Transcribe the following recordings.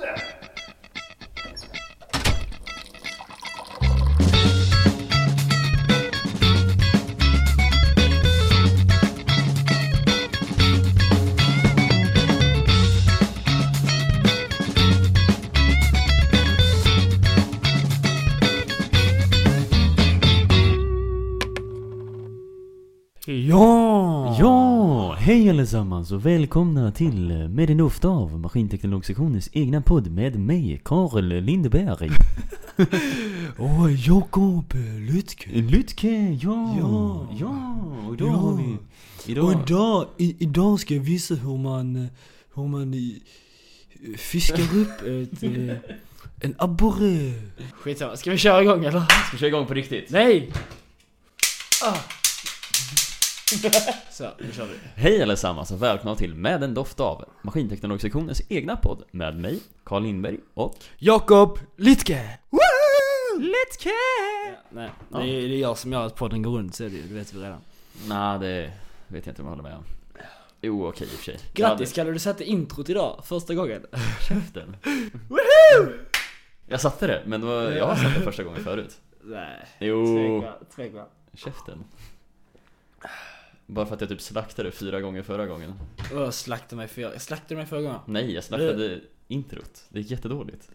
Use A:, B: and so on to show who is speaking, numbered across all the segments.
A: det!
B: Ja!
C: Ja, hej allesammans och välkomna till eh, Med en doft av Maskinteknologsektionens egna podd med mig, Karl Lindeberg.
B: Och Jakob Lütke.
C: Lütke, ja,
B: Ja.
C: ja, och idag
B: Ja.
C: har vi...
B: Och
C: Idag,
B: idag, i, idag ska jag visa hur man, eh, hur man i- fiskar upp ett, eh, en abborre.
D: Skitsamma, ska vi köra igång eller?
C: ska vi köra igång på riktigt?
D: Nej! Ah. Så, nu kör vi.
C: Hej allesammans och välkomna till Med en doft av Maskinteknologsektionens egna podd med mig, Karl Lindberg och...
B: Jakob Lütke!
C: Let's
D: Ja, nej,
C: Ja.
D: det, är, det är jag som gör att podden går runt, så är det, ju, det vet vi redan.
C: Nej, det vet jag inte om jag håller med om. Jo, okej i och för sig.
D: Grattis Kalle, du satte introt idag, första gången.
C: Käften. Jag satte det, men det var, jag har satt det första gången förut.
D: Nej,
C: Jo,
D: tvek va?
C: käften. Bara för att jag typ slaktade fyra gånger förra gången.
D: Åh, slaktade mig förra, slaktade mig förra gången.
C: Nej, jag slaktade introt. Det gick jättedåligt.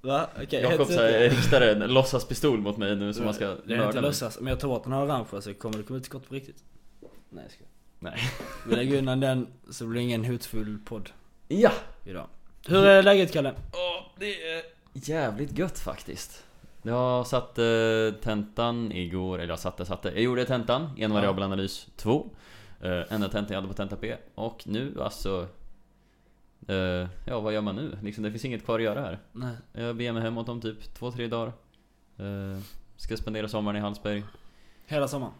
D: Va? Okej, okay,
C: Jakob så här riktar en låtsaspistol mot mig nu som man ska
D: Det är inte
C: mörda mig.
D: låtsas, om jag tar bort den här orangea så kommer det komma ut skott på riktigt. Nej jag skojar.
C: Nej.
D: Vi lägger undan den, så blir det ingen hotfull podd
C: Ja!
D: idag. Hur är läget Kalle?
C: Åh, det är jävligt gött faktiskt. Jag satte eh, tentan igår, eller jag satte, satte. Jag gjorde tentan, en variabel analys 2. Eh, enda tentan jag hade på tenta P. Och nu alltså... eh, ja, vad gör man nu? Liksom, det finns inget kvar att göra här.
D: Nej.
C: Jag beger mig hemåt om typ 2-3 dagar. Eh, ska spendera sommaren i Hallsberg.
D: Hela sommaren?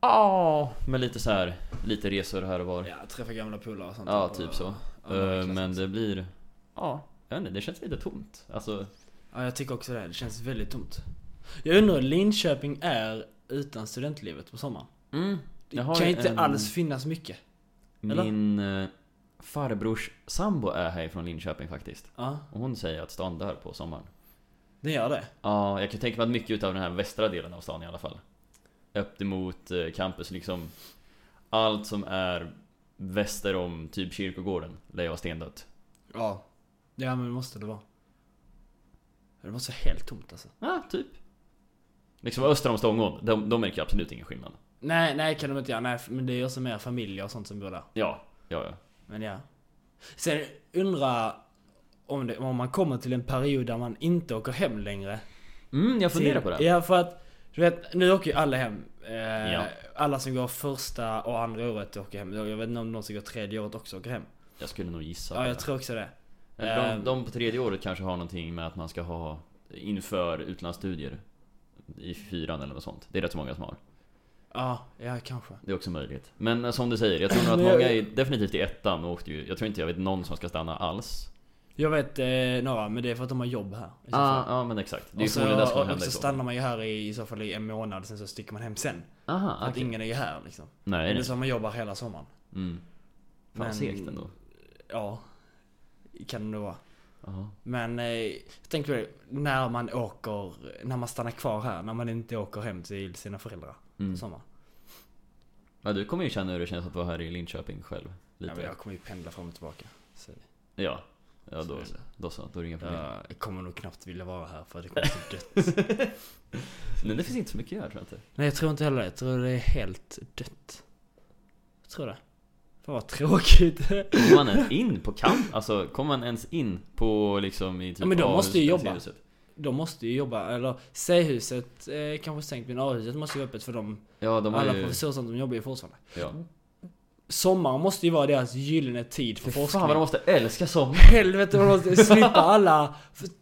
C: Ja, men lite så här, lite resor här och var.
D: Ja, träffa gamla polare och sånt.
C: Ja, typ så.
D: Ja,
C: Eh,
D: verkligen.
C: men det blir... Ja, jag vet inte, det känns lite tomt. Alltså...
D: Ja, jag tycker också det. Det känns väldigt tomt. Jag undrar hur Linköping är utan studentlivet på sommaren.
C: Mm,
D: Det
C: jag har
D: kan
C: ju
D: inte
C: en-
D: alls finnas mycket. Eller?
C: Min eh, farbrors sambo är härifrån Linköping faktiskt.
D: Ja,
C: Och hon säger att stan dör på sommaren.
D: det gör det.
C: Ja, jag kan tänka mig att mycket utav den här västra delen av stan i alla fall. Upp emot eh, campus liksom. Allt som är väster om typ kyrkogården lär ju vara stendött.
D: Ja. Ja, men det måste det vara. Det måste vara helt tomt alltså.
C: Ja, typ. Liksom öster om Stångån, de, de märker absolut ingen skillnad.
D: Nej, nej kan de inte göra. Nej, men det är ju också mer familjer och sånt som bor där.
C: Ja, ja, ja.
D: Men ja. Sen undra om, det, om man kommer till en period där man inte åker hem längre.
C: Mm, jag funderar
D: till-
C: på det.
D: Ja för att du vet, nu åker ju alla hem. Eh,
C: Ja.
D: Alla som går första och andra året åker hem. Jag vet inte om någon som går tredje året också åker hem.
C: Jag skulle nog gissa.
D: Ja,
C: på
D: jag
C: det.
D: tror också det.
C: De,
D: Ehm.
C: de på tredje året kanske har någonting med att man ska ha inför utlandsstudier i fyran eller något sånt. Det är rätt så många som har.
D: Ja, ja kanske.
C: Det är också möjligt. Men eh, som du säger, jag tror nog att
D: Men jag-
C: många är definitivt i ettan och åkte ju. Jag tror inte jag vet någon som ska stanna alls.
D: Jag vet eh, några, men det är för att de har jobb här. i
C: Ja,
D: så fall.
C: ah, men exakt. Det är ju
D: och så,
C: förmodligen det som
D: och,
C: händer.
D: så
C: i så fall.
D: stannar man ju här i, i så fall i en månad, sen så sticker man hem sen. För
C: Aha,
D: att
C: okej.
D: ingen är ju här liksom.
C: Nej,
D: Eller
C: nej.
D: så man jobbar hela sommaren.
C: Mm. Fan
D: Men-
C: segt ändå.
D: Ja, kan det nog vara.
C: Jaha.
D: Men eh, jag tänkte på det, när man åker, när man stannar kvar här, när man inte åker hem till sina föräldrar
C: Mm.
D: på sommaren.
C: Ja, du kommer ju känna hur det känns att vara här i Linköping själv.
D: Ja, men
C: Lite.
D: jag kommer ju pendla fram och tillbaka. Så, eh,
C: Ja. Ja,
D: Så
C: då,
D: är det.
C: då så. Då är det inga problem.
D: jag kommer nog knappt vilja vara här för det kommer att bli dött.
C: Men det finns inte så mycket här tror jag inte.
D: Nej jag tror inte heller det. Jag tror det är helt dött. Jag tror det. Fan vad tråkigt.
C: Kommer man ens in på kamp? Alltså kommer man ens in på liksom i typ
D: Ja, men de
C: Ahuset,
D: måste ju jobba.
C: Stationshuset?
D: De måste ju jobba, eller C-huset eh, kanske stängt men A-huset måste ju vara öppet för dem.
C: Ja de har
D: alla
C: ju...
D: professorer som de jobbar ju fortfarande.
C: Ja.
D: Sommaren måste ju vara deras gyllene tid för
C: Fy
D: forskning.
C: Fan vad de måste älska sommar!
D: Helvete vad de måste slippa alla.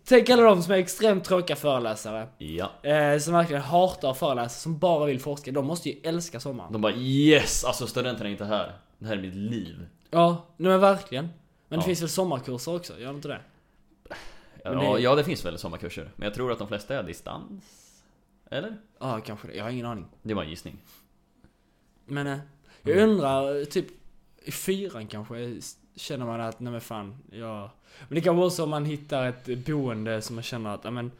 D: Tänk alla de som är extremt tråkiga föreläsare.
C: Ja.
D: Eh, som verkligen hatar att föreläsa, som bara vill forska. De måste ju älska sommaren.
C: De bara yes! Alltså studenterna är inte här. Det här är mitt liv.
D: Ja, nej men verkligen. Men
C: Ja.
D: det finns väl sommarkurser också? Gör de inte det?
C: Ja,
D: Men det-
C: ja det finns väl sommarkurser. Men jag tror att de flesta är distans. Eller?
D: Ja, kanske det. Jag har ingen aning.
C: Det var en gissning.
D: Men eh, jag undrar, typ i fyran kanske s- känner man att, nej men fan, ja. Men det kanske också om man hittar ett boende som man känner att, ja men.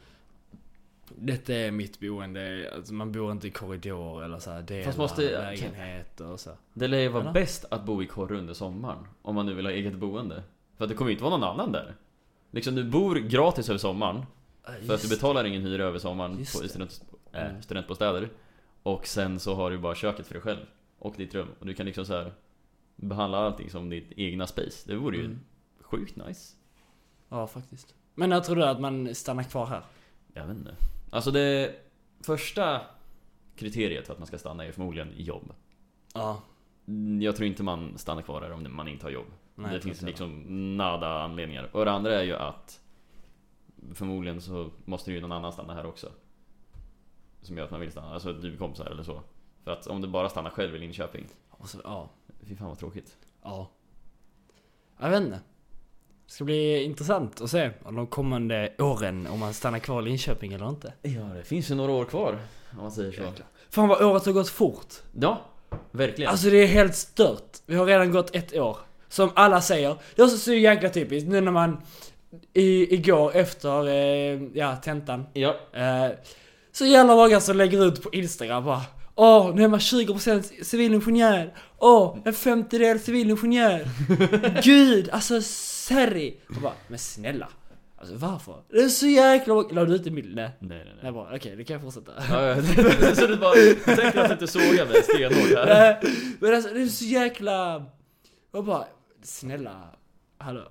D: Detta är mitt boende, alltså man bor inte i korridor eller så här delar,
C: måste-
D: lägenhet och så.
C: Det lär ju vara
D: Eller?
C: bäst att bo i korr under sommaren Om man nu vill ha eget boende För att det kommer ju inte vara någon annan där Liksom du bor gratis över sommaren För att du betalar ingen hyra över sommaren
D: Just
C: på, i
D: det.
C: student, äh,
D: Mm.
C: studentbostäder Och sen så har du bara köket för dig själv Och ditt rum Och du kan liksom så här Behandla allting som ditt egna space Det vore ju
D: Mm.
C: sjukt nice
D: Ja, faktiskt. Men jag tror du att man stannar kvar här?
C: Jag vet inte Alltså det första kriteriet för att man ska stanna är förmodligen jobb
D: Ja.
C: Mm, Jag tror inte man stannar kvar här om man inte har jobb
D: Nej,
C: det
D: jag tror
C: finns
D: inte
C: liksom nada anledningar. Och det andra är ju att förmodligen så måste ju någon annan stanna här också. Som gör att man vill stanna. Alltså du kompisar eller så. För att om du bara stannar själv i Linköping.
D: Och så, ja.
C: Fy fan vad tråkigt.
D: Ja. Jag vet inte. Det ska bli intressant att se om de kommande åren om man stannar kvar i Linköping eller inte.
C: Ja, det finns ju några år kvar. Om man säger så.
D: Fan vad året har gått fort.
C: Ja, verkligen.
D: Alltså det är helt stört. Vi har redan gått ett år. Som alla säger. Det är också så jäkla typiskt nu när man i, igår efter eh, ja, tentan
C: ja,
D: Eh, Så jävla många som lägger ut på Instagram bara Åh, nu är man 20% civilingenjör! Åh, en femtedel civilingenjör! Gud, alltså serri! Och bara, men snälla! Alltså varför? Det är så jäkla många... La du ut en bild? Nej.
C: nej nej nej.
D: Nej, bara okej, det kan jag fortsätta.
C: Ja, ja. så du bara tänkte att du inte såg mig stenhårt här.
D: Eh, men alltså det är så jäkla... Jag bara, snälla, hallå?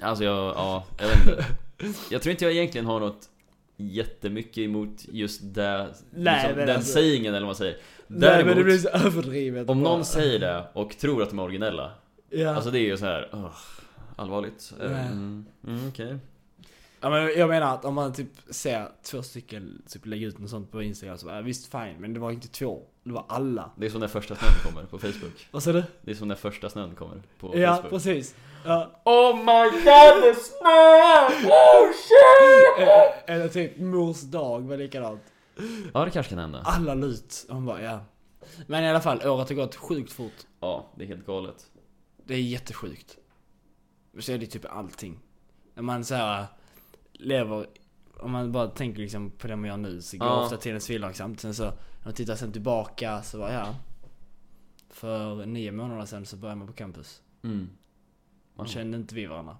C: Alltså jag, ja, jag vet inte. Jag tror inte jag egentligen har något jättemycket emot just det,
D: Nej,
C: liksom,
D: men
C: den
D: alltså-
C: sägningen eller vad man säger.
D: Nej
C: Däremot,
D: men det blir så överdrivet.
C: om
D: bara.
C: någon säger det och tror att de är originella,
D: Ja.
C: alltså det är ju så här. "Åh, allvarligt.
D: Nej.
C: Mm, mm, okej.
D: Ja, men jag menar att om man typ ser två stycken typ lägga ut något sånt på Instagram så bara, visst fine, men det var inte två, det var alla.
C: Det är som när första snön kommer på Facebook.
D: Vad sa du?
C: Det är som när första snön kommer på
D: Ja,
C: Facebook.
D: precis. Ja.
C: Oh my god, det snö! Oh shit!
D: Eller, eller typ mors dag var likadant.
C: Ja, det kanske kan hända.
D: Alla lut. Hon bara, ja. Men i alla fall, året har gått sjukt fort.
C: Ja, det är helt galet.
D: Det är jättesjukt. Men Så är det typ allting. När man så här äh, lever, om man bara tänker liksom på det man gör nu så går
C: Ja.
D: ofta tiden så långsamt. Sen så, när man tittar sen tillbaka så bara, ja. För nio månader sen så började man på campus.
C: Mm.
D: Då
C: Wow. Eh,
D: kände inte vi varandra.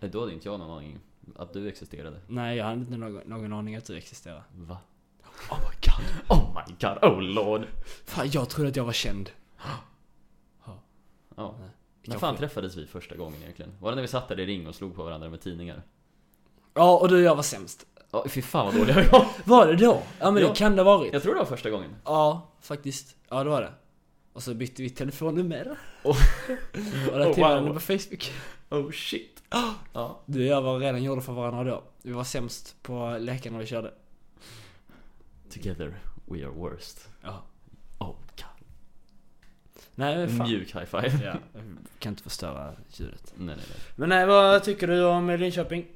C: Då hade inte jag någon aning att du existerade.
D: Nej, jag hade inte någon, någon aning att du existerade.
C: Va? Oh my god, oh my god, oh lord!
D: Fan, jag trodde att jag var känd.
C: Ja.
D: Nej,
C: När fan
D: kanske.
C: träffades vi första gången egentligen? Var det när vi satt där i ring och slog på varandra med tidningar?
D: Ja, och du och jag var sämst.
C: Ja, fy fan vad dåliga vi var!
D: Var det då? Ja men
C: Ja.
D: det kan det ha varit.
C: Jag tror det var första gången.
D: Ja, faktiskt. Ja, det var det. Och så bytte vi telefonnummer.
C: Oh.
D: Och där
C: Oh,
D: till
C: wow.
D: varandra på Facebook.
C: Oh shit! Ja,
D: Du och jag var redan gjorda för varandra då. Vi var sämst på läkarna vi körde.
C: together we are worst.
D: Ja.
C: Oh god.
D: Nej men fan.
C: Mjuk high five.
D: Ja, kan inte förstöra ljudet.
C: Nej, nej, nej.
D: Men nej, vad tycker du om Linköping?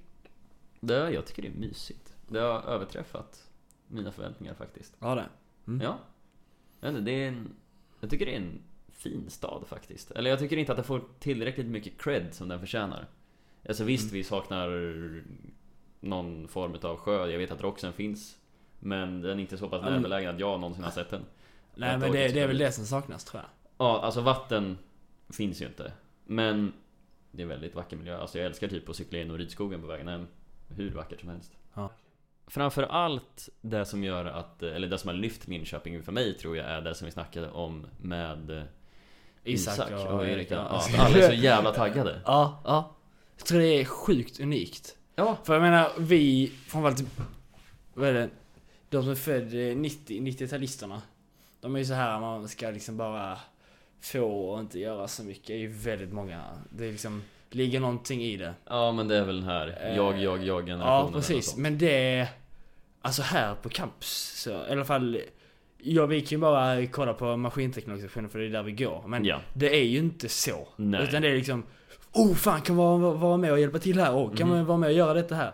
C: Det, jag tycker det är mysigt. Det har överträffat mina förväntningar faktiskt.
D: Ja det. Mm.
C: Ja. Jag, vet inte, det är en, jag tycker det är en fin stad faktiskt. Eller jag tycker inte att den får tillräckligt mycket cred som den förtjänar. Alltså visst,
D: Mm.
C: vi saknar någon form av sjö. Jag vet att Roxen finns. Men den är inte så pass
D: Ja, men-
C: närbelägen att jag någonsin har sett den.
D: Nej
C: Jag
D: men
C: orkar
D: det,
C: inte
D: det är
C: ta
D: väl
C: dit.
D: det som saknas tror jag.
C: Ja, alltså vatten finns ju inte. Men det är väldigt vacker miljö. Alltså jag älskar typ att cykla in och ridskogen på vägen hem. Hur vackert som helst.
D: Ja.
C: Framför allt det som gör att, eller det som har lyft Linköping för mig tror jag är det som vi snackade om med Isak, och, Erika. Ja, att alla är så jävla taggade.
D: Ja, ja. Jag tror det är sjukt unikt.
C: Ja.
D: För jag menar, vi, framförallt typ, vad är det? De som är födda 90, 90-talisterna. De är ju så här, man ska liksom bara få och inte göra så mycket. Det är ju väldigt många. Det är liksom, ligger någonting i det.
C: Ja men det är väl den här jag, jag, jag generationen.
D: Eh, Ja, precis. Men det... Alltså här på campus, så, i alla fall... Ja, vi kan ju bara kolla på maskinteknologisektionen för det är där vi går. Men
C: Ja.
D: det är ju inte så.
C: Nej.
D: Utan det är liksom... Oh fan, kan man vara- vara med och hjälpa till här? Och
C: Mhm.
D: kan man vara med och göra detta här?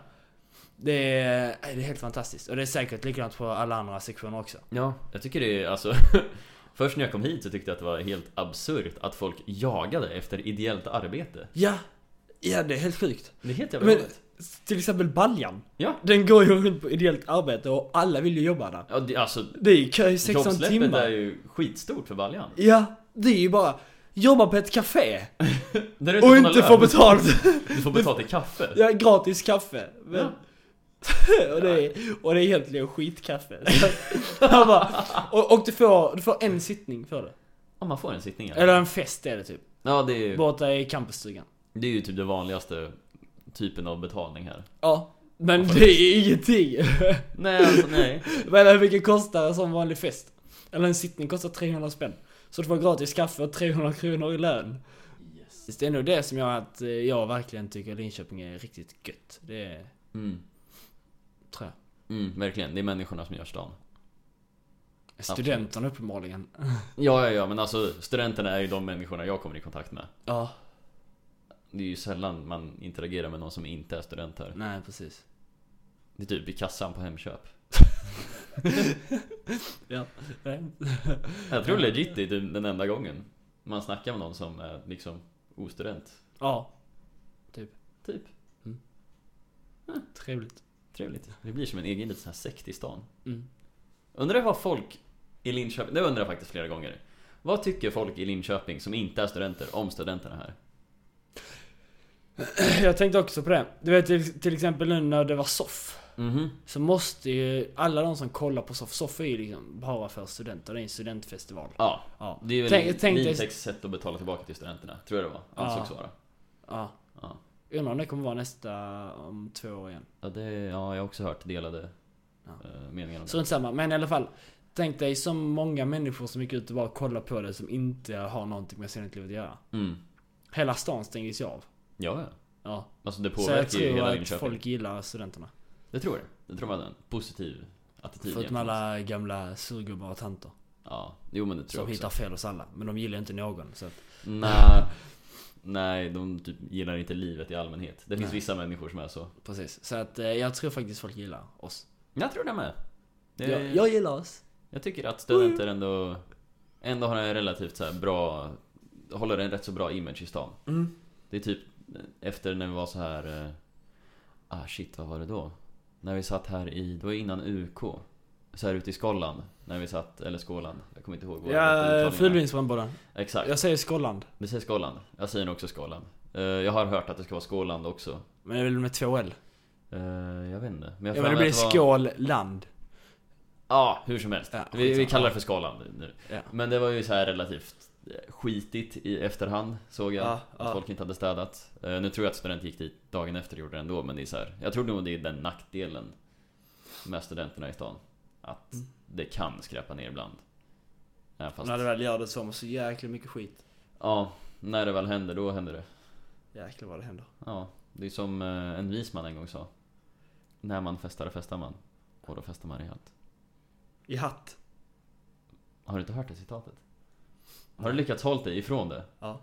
D: Det är, nej, det är helt fantastiskt. Och det är säkert likadant på alla andra sektioner också.
C: Ja, jag tycker det är alltså Först när jag kom hit så tyckte jag att det var helt absurt att folk jagade efter ideellt arbete.
D: Ja, ja det är helt sjukt.
C: Det är helt jävla
D: Men
C: galet.
D: till exempel Baljan.
C: Ja.
D: Den går ju runt på ideellt arbete och alla vill ju jobba där.
C: Ja, det, alltså,
D: Det är ju kö i 16
C: jobbsläppet
D: timmar.
C: är ju skitstort för Valjan.
D: Ja, det är ju bara jobba på ett café
C: Där du
D: och
C: någon
D: inte
C: lön.
D: få betalt.
C: Du får betalt i kaffe.
D: Ja, gratis kaffe. Men...
C: Ja.
D: och, det är, och det är egentligen skitkaffe. Så han bara, och och du, får, du får en sittning för det.
C: Ja, man får en sittning. ja.
D: Eller en fest är det typ.
C: Ja, det är, ju,
D: Borta i campusstugan.
C: det är ju typ det vanligaste typen av betalning här.
D: Ja. Men det är ingenting.
C: Nej, alltså nej.
D: Men hur mycket kostar en sån vanlig fest? Eller en sittning kostar 300 spänn. Så du får gratis kaffe och 300 kronor i lön. Det är nog det som gör att eh, jag verkligen tycker Linköping är riktigt gött. Det är,
C: Mm.
D: tror jag.
C: Mm, verkligen. Det är människorna som gör stan.
D: Studenterna uppenbarligen.
C: Ja, ja, ja, men alltså studenterna är ju de människorna jag kommer i kontakt med.
D: Ja,
C: Det är ju sällan man interagerar med någon som inte är student här.
D: nej precis.
C: Det är typ i kassan på Hemköp.
D: Ja.
C: Jag tror legit det är typ den enda gången man snackar med någon som är liksom ostudent.
D: Ja,
C: Typ.
D: trevligt.
C: Trevligt. Det blir som en egen liten sån här sekt i stan.
D: Mm.
C: Undrar vad folk i Linköping, det undrar jag faktiskt flera gånger. Vad tycker folk i Linköping som inte är studenter om studenterna här?
D: Jag tänkte också på det. Du vet till, till exempel nu när det var SOFF.
C: Mhm.
D: Så måste ju alla de som kollar på SOFF, SOFF är ju liksom bara för studenter, det är en studentfestival.
C: Ja,
D: Ja.
C: det är väl
D: Tänk- tänk dig-
C: Lintex sätt att betala tillbaka till studenterna, tror jag det var. Ansågs vara.
D: ja.
C: Ja.
D: Undrar om det kommer vara nästa om två år igen.
C: Ja, det, ja, jag har också hört delade
D: Ja.
C: eh, meningar om
D: Så
C: det.
D: inte samma, men i alla fall. Tänk dig så många människor som gick ut och bara kollade på det som inte har någonting med studentlivet att göra.
C: Mm.
D: Hela stan stängdes ju av.
C: Ja, ja.
D: Ja.
C: Alltså det
D: Så jag
C: påverkar ju
D: tror
C: hela
D: att
C: Linköping.
D: folk gillar studenterna.
C: Det tror jag. Det tror man är en positiv attityd
D: Förutom
C: egentligen.
D: alla gamla surgubbar och tanter.
C: Ja, jo men det tror
D: Som
C: jag
D: hittar
C: också.
D: fel hos alla, men de gillar inte någon. Så att,
C: Nej, nej, de typ gillar inte livet i allmänhet. Det finns
D: Nej.
C: vissa människor som är så.
D: precis. Så att eh, jag tror faktiskt folk gillar oss.
C: Jag tror det med. Det,
D: Jag,
C: jag,
D: jag gillar oss.
C: tycker att studenter ändå, ändå har en relativt så här bra, håller en rätt så bra image i stan.
D: Mm.
C: Det är typ efter när vi var så här eh, ah shit vad var det då? När vi satt här i, det var innan UK. Så här ute i Skolland, när vi satt, eller Skåland, jag kommer inte ihåg våra rätta
D: Ja,
C: uttalningar.
D: Fulvinsbrännbådan.
C: Exakt.
D: Jag säger Skolland.
C: Vi säger Skåland. Jag säger nog också Skåland. Eh, jag har hört att det ska vara Skåland också.
D: Men det är väl med två L?
C: Eh, jag vet inte. Men jag får för
D: Ja men det
C: mig
D: blir
C: att var-
D: Skålland.
C: Ja, hur som helst.
D: Ja,
C: vi, vi
D: skitsamma.
C: kallar det för Skåland nu.
D: Ja.
C: Men det var ju så här relativt eh, skitigt i efterhand, såg jag.
D: Ja,
C: att
D: ja.
C: folk inte hade städat. Eh, nu tror jag att studenter gick dit dagen efter och gjorde det ändå, men det är så här. Jag tror nog det är den nackdelen med studenterna i stan. Att det kan skräpa ner ibland. Även fast,
D: Mm. När det väl gör det så har man så jäkla mycket skit.
C: Ja, när det väl händer, då händer det.
D: Jäklar vad det händer.
C: Ja, det är som eh, en vis man en gång sa. När man festar, festar man. Och då festar man rejält.
D: I hatt.
C: Har du inte hört det citatet? Har du lyckats hålla dig ifrån det?
D: Ja.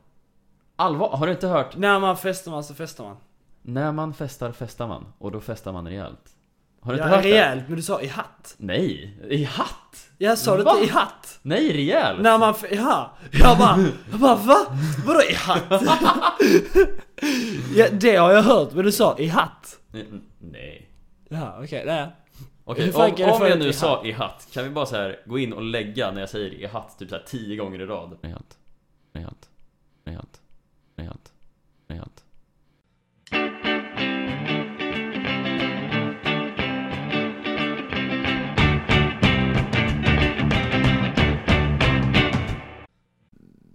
C: Allvar, har du inte hört?
D: När man festar man så festar man.
C: När man festar, festar man. Och då festar man rejält. Har du
D: ja,
C: inte hört det?
D: rejält, men du sa i hatt.
C: Nej! I hatt!
D: Jag sa det
C: Va?
D: inte i hatt.
C: Nej, rejält!
D: När man, fe- ja. Jag bara, jag bara va? Vadå i hatt? ja, det har jag hört, men du sa i hatt.
C: Nej, Nej.
D: Ja, okej, nej.
C: Okej,
D: Hur fan kan du
C: om, om
D: få
C: jag
D: det
C: nu
D: i
C: sa i hatt, kan vi bara så här gå in och lägga när jag säger i hatt typ så här tio gånger i rad? I hatt, i hatt, i hatt, i hatt, i hatt.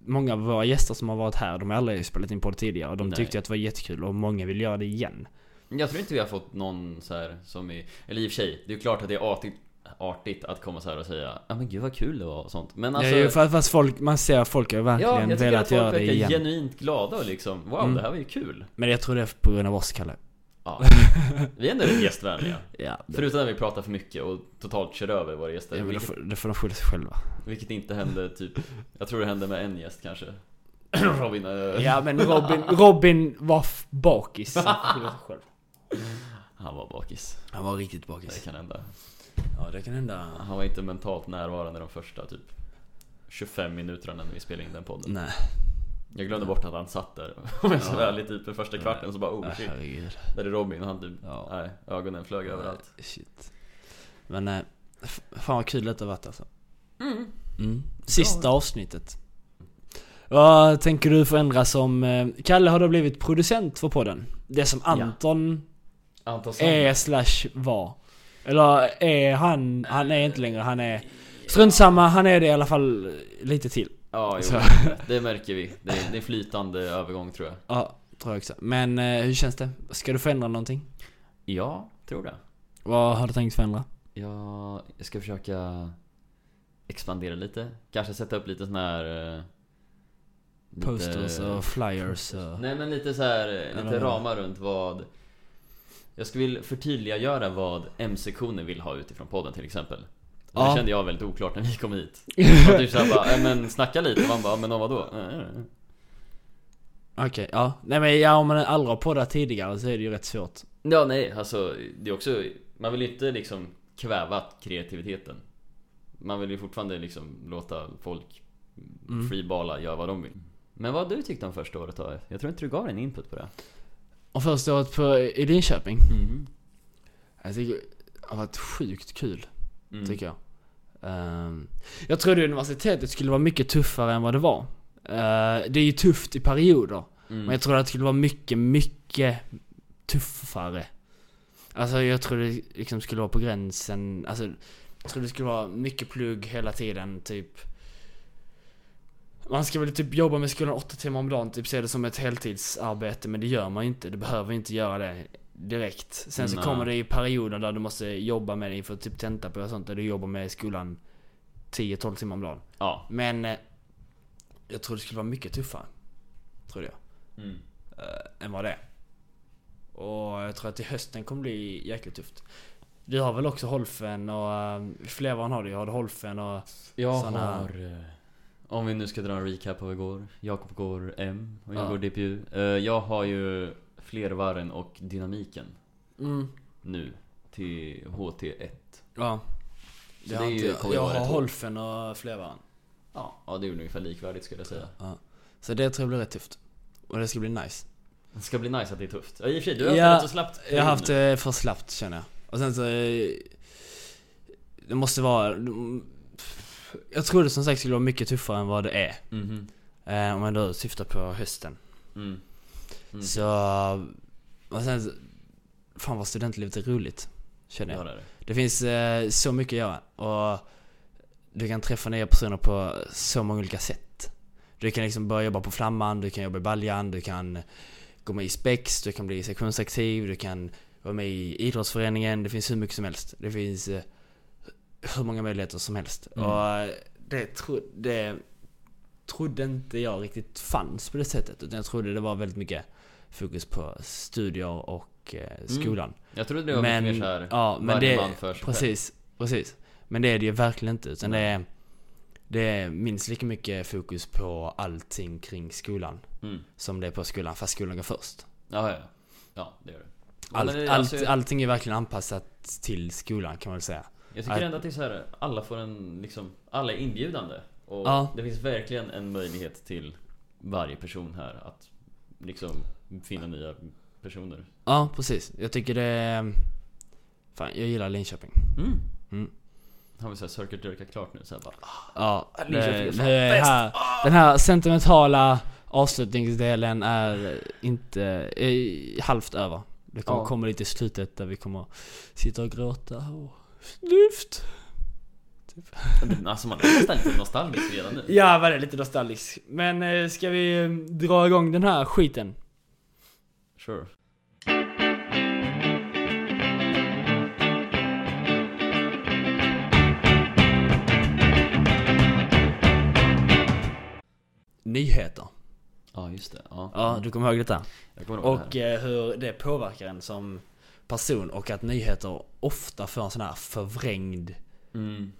D: Många av våra gäster som har varit här, de har aldrig spelat in podd tidigare och de
C: Nej.
D: tyckte att det var jättekul och många vill göra det igen.
C: Jag tror inte vi har fått någon så här som i... Eller i och för sig, det är ju klart att det är artigt, artigt att komma så här och säga Ja men gud vad kul det var och sånt Men alltså...
D: det är ju för att fast folk, man ser att folk har
C: ja,
D: verkligen
C: jag tycker att
D: velat göra
C: folk
D: det
C: verkar
D: igen.
C: genuint glada och liksom Wow,
D: Mm.
C: det här var ju kul
D: Men jag tror det är på grund av oss, Kalle.
C: Ja Vi är ändå rätt gästvänliga
D: Ja, det,
C: Förutom när vi pratar för mycket och totalt kör över våra gäster
D: det,
C: vilket,
D: får, det får de skylla sig själva.
C: vilket inte hände typ Jag tror det hände med en gäst kanske Robin eh,
D: Ja men Robin, Robin var f- bakis.
C: Han var bakis
D: Han var riktigt
C: Det
D: bakis.
C: kan hända
D: Ja det kan hända.
C: Han var inte mentalt närvarande de första typ 25 minuter när vi spelade in den podden.
D: Nej.
C: Jag glömde bort att han satt där. Om jag ska vara ärlig, typ för första kvarten så bara oh shit.
D: herregud.
C: Där är Robin och han typ,
D: Ja.
C: nej, ögonen flög överallt.
D: Shit. Men nej. F- Fan vad kul detta varit alltså. Mm. Sista avsnittet. Vad tänker du förändra som... eh, Kalle har då blivit producent för podden. Det som Anton
C: Anton
D: är slash var. Eller är han... Han är inte längre, han är... Strunt samma, han är det i alla fall eh, lite till.
C: Ja,
D: Så.
C: jo, det märker vi. Det är, det är flytande övergång tror jag.
D: Ja, tror jag också. Men eh, hur känns det? Ska du förändra någonting?
C: Ja, tror det.
D: Vad har du tänkt förändra?
C: Jag ska försöka expandera lite. Kanske sätta upp lite sån här... eh, lite-
D: Posters och flyers och...
C: Nej men lite så här, eh, lite
D: Eller-
C: ramar runt vad... Jag skulle vilja förtydliggöra vad M-sektionen vill ha utifrån podden till exempel. Och
D: Ja.
C: Det kände jag väldigt oklart när vi kom hit. Och typ såhär bara, "Eh, men snacka lite. Och man bara, men om vadå? Eh,
D: Okej, ja. Nej men ja, om man aldrig har poddat tidigare så är det ju rätt svårt.
C: Ja, nej, alltså det är också... Man vill ju inte liksom kväva kreativiteten. Man vill ju fortfarande liksom låta folk
D: Mm.
C: freeballa, göra vad de vill. Men vad har du tyckte om första året då? Jag tror inte du gav en input på det.
D: Och första året på, i Linköping.
C: Mm.
D: Jag tycker det har varit sjukt kul,
C: Mm.
D: tycker jag. Ehm, jag trodde universitetet skulle vara mycket tuffare än vad det var. Eh, det är ju tufft i perioder.
C: Mm.
D: Men jag trodde att det skulle vara mycket, mycket tuffare. Alltså jag trodde det liksom skulle vara på gränsen, alltså jag trodde det skulle vara mycket plugg hela tiden, typ. Man ska väl typ jobba med skolan åtta timmar om dagen, typ se det som ett heltidsarbete, men det gör man ju inte. Du behöver inte göra det direkt. Sen så
C: Nej.
D: kommer det ju perioder där du måste jobba med det inför typ tenta på och sånt, där du jobbar med skolan 10-12 timmar om dagen.
C: Ja.
D: Men eh, jag trodde det skulle vara mycket tuffare. Trodde jag
C: Mm.
D: eh, än vad det är. Och jag tror att till hösten kommer bli jäkligt tufft. Vi har väl också Holfen och eh, Flevan har det. Jag har Holfen och...
C: Jag
D: Såna-
C: har... eh, Om vi nu ska dra en recap av igår. Jakob går M och jag
D: Ja.
C: går DPU. Eh, Jag har ju flervarren och dynamiken nu till HT1.
D: Ja.
C: Så
D: Det har
C: är
D: inte,
C: ju-
D: jag
C: kommer ju
D: jag
C: vara
D: har
C: rätt hårt.
D: Holfen och Flevan.
C: Ja, ja, det är ungefär likvärdigt skulle jag säga.
D: Så det tror jag blir rätt tufft. Och det ska bli nice.
C: Det ska bli nice att det är tufft. Ja, i och för sig, du har
D: Ja,
C: haft det rätt så slappt.
D: Jag har haft det för slappt känner jag. Och sen så... eh, Det måste vara... Jag trodde som sagt skulle vara mycket tuffare än vad det är.
C: Mhm.
D: Eh, Om man då syftar på hösten.
C: Mm. Mm.
D: Så... Och sen... så- Fan vad studentlivet är roligt. Känner jag.
C: Ja, det är det.
D: Det finns eh, så mycket att göra och du kan träffa nya personer på så många olika sätt. Du kan liksom börja jobba på Flamman, du kan jobba i Baljan, du kan gå med i Spex, du kan bli sektionsaktiv, du kan vara med i idrottsföreningen. Det finns hur mycket som helst. Det finns eh, hur många möjligheter som helst.
C: Mm.
D: Och eh, det, tro, det trodde inte jag riktigt fanns på det sättet. Utan jag trodde det var väldigt mycket fokus på studier och eh, skolan.
C: Jag trodde det var
D: Men-
C: mycket mer såhär,
D: ja, men
C: varje
D: det-
C: man för sig själv.
D: Precis, precis. Men det är det ju verkligen inte. Utan det är, det är minst lika mycket fokus på allting kring skolan
C: Mm.
D: som det är på skolan, fast skolan går först.
C: Ja, ja, ja. ja, det gör det. Ja,
D: Allt,
C: men det-
D: allt,
C: alltså, jag-
D: Allting är verkligen anpassat till skolan kan man väl säga.
C: Jag tycker
D: Att-
C: ändå att det är så här, alla får en liksom, alla är inbjudande. Och
D: Ja.
C: det finns verkligen en möjlighet till varje person här att liksom finna nya personer.
D: Ja, precis. Jag tycker det är... Fan, jag gillar Linköping.
C: Mm.
D: Mm.
C: Har vi såhär circle jerka klart nu så här bara.
D: Ja,
B: Linköping är
D: det,
B: fan
D: det är här, den här sentimentala avslutningsdelen är inte är halvt över. Det kommer
C: Ja.
D: komma lite i slutet där vi kommer sitta och gråta och lyft.
C: Men Alltså man är nästan lite nostalgisk redan nu.
B: Ja, vad är det?
D: Lite nostalgisk. Men eh, ska vi eh, dra igång den här skiten?
C: Sure.
D: Nyheter.
C: Ja just det. Ja.
D: Ja, du kommer ihåg detta?
C: Jag kommer ihåg det
D: Och
C: här.
D: eh, hur det påverkar en som person och att nyheter ofta får en sån här förvrängd
C: Mm.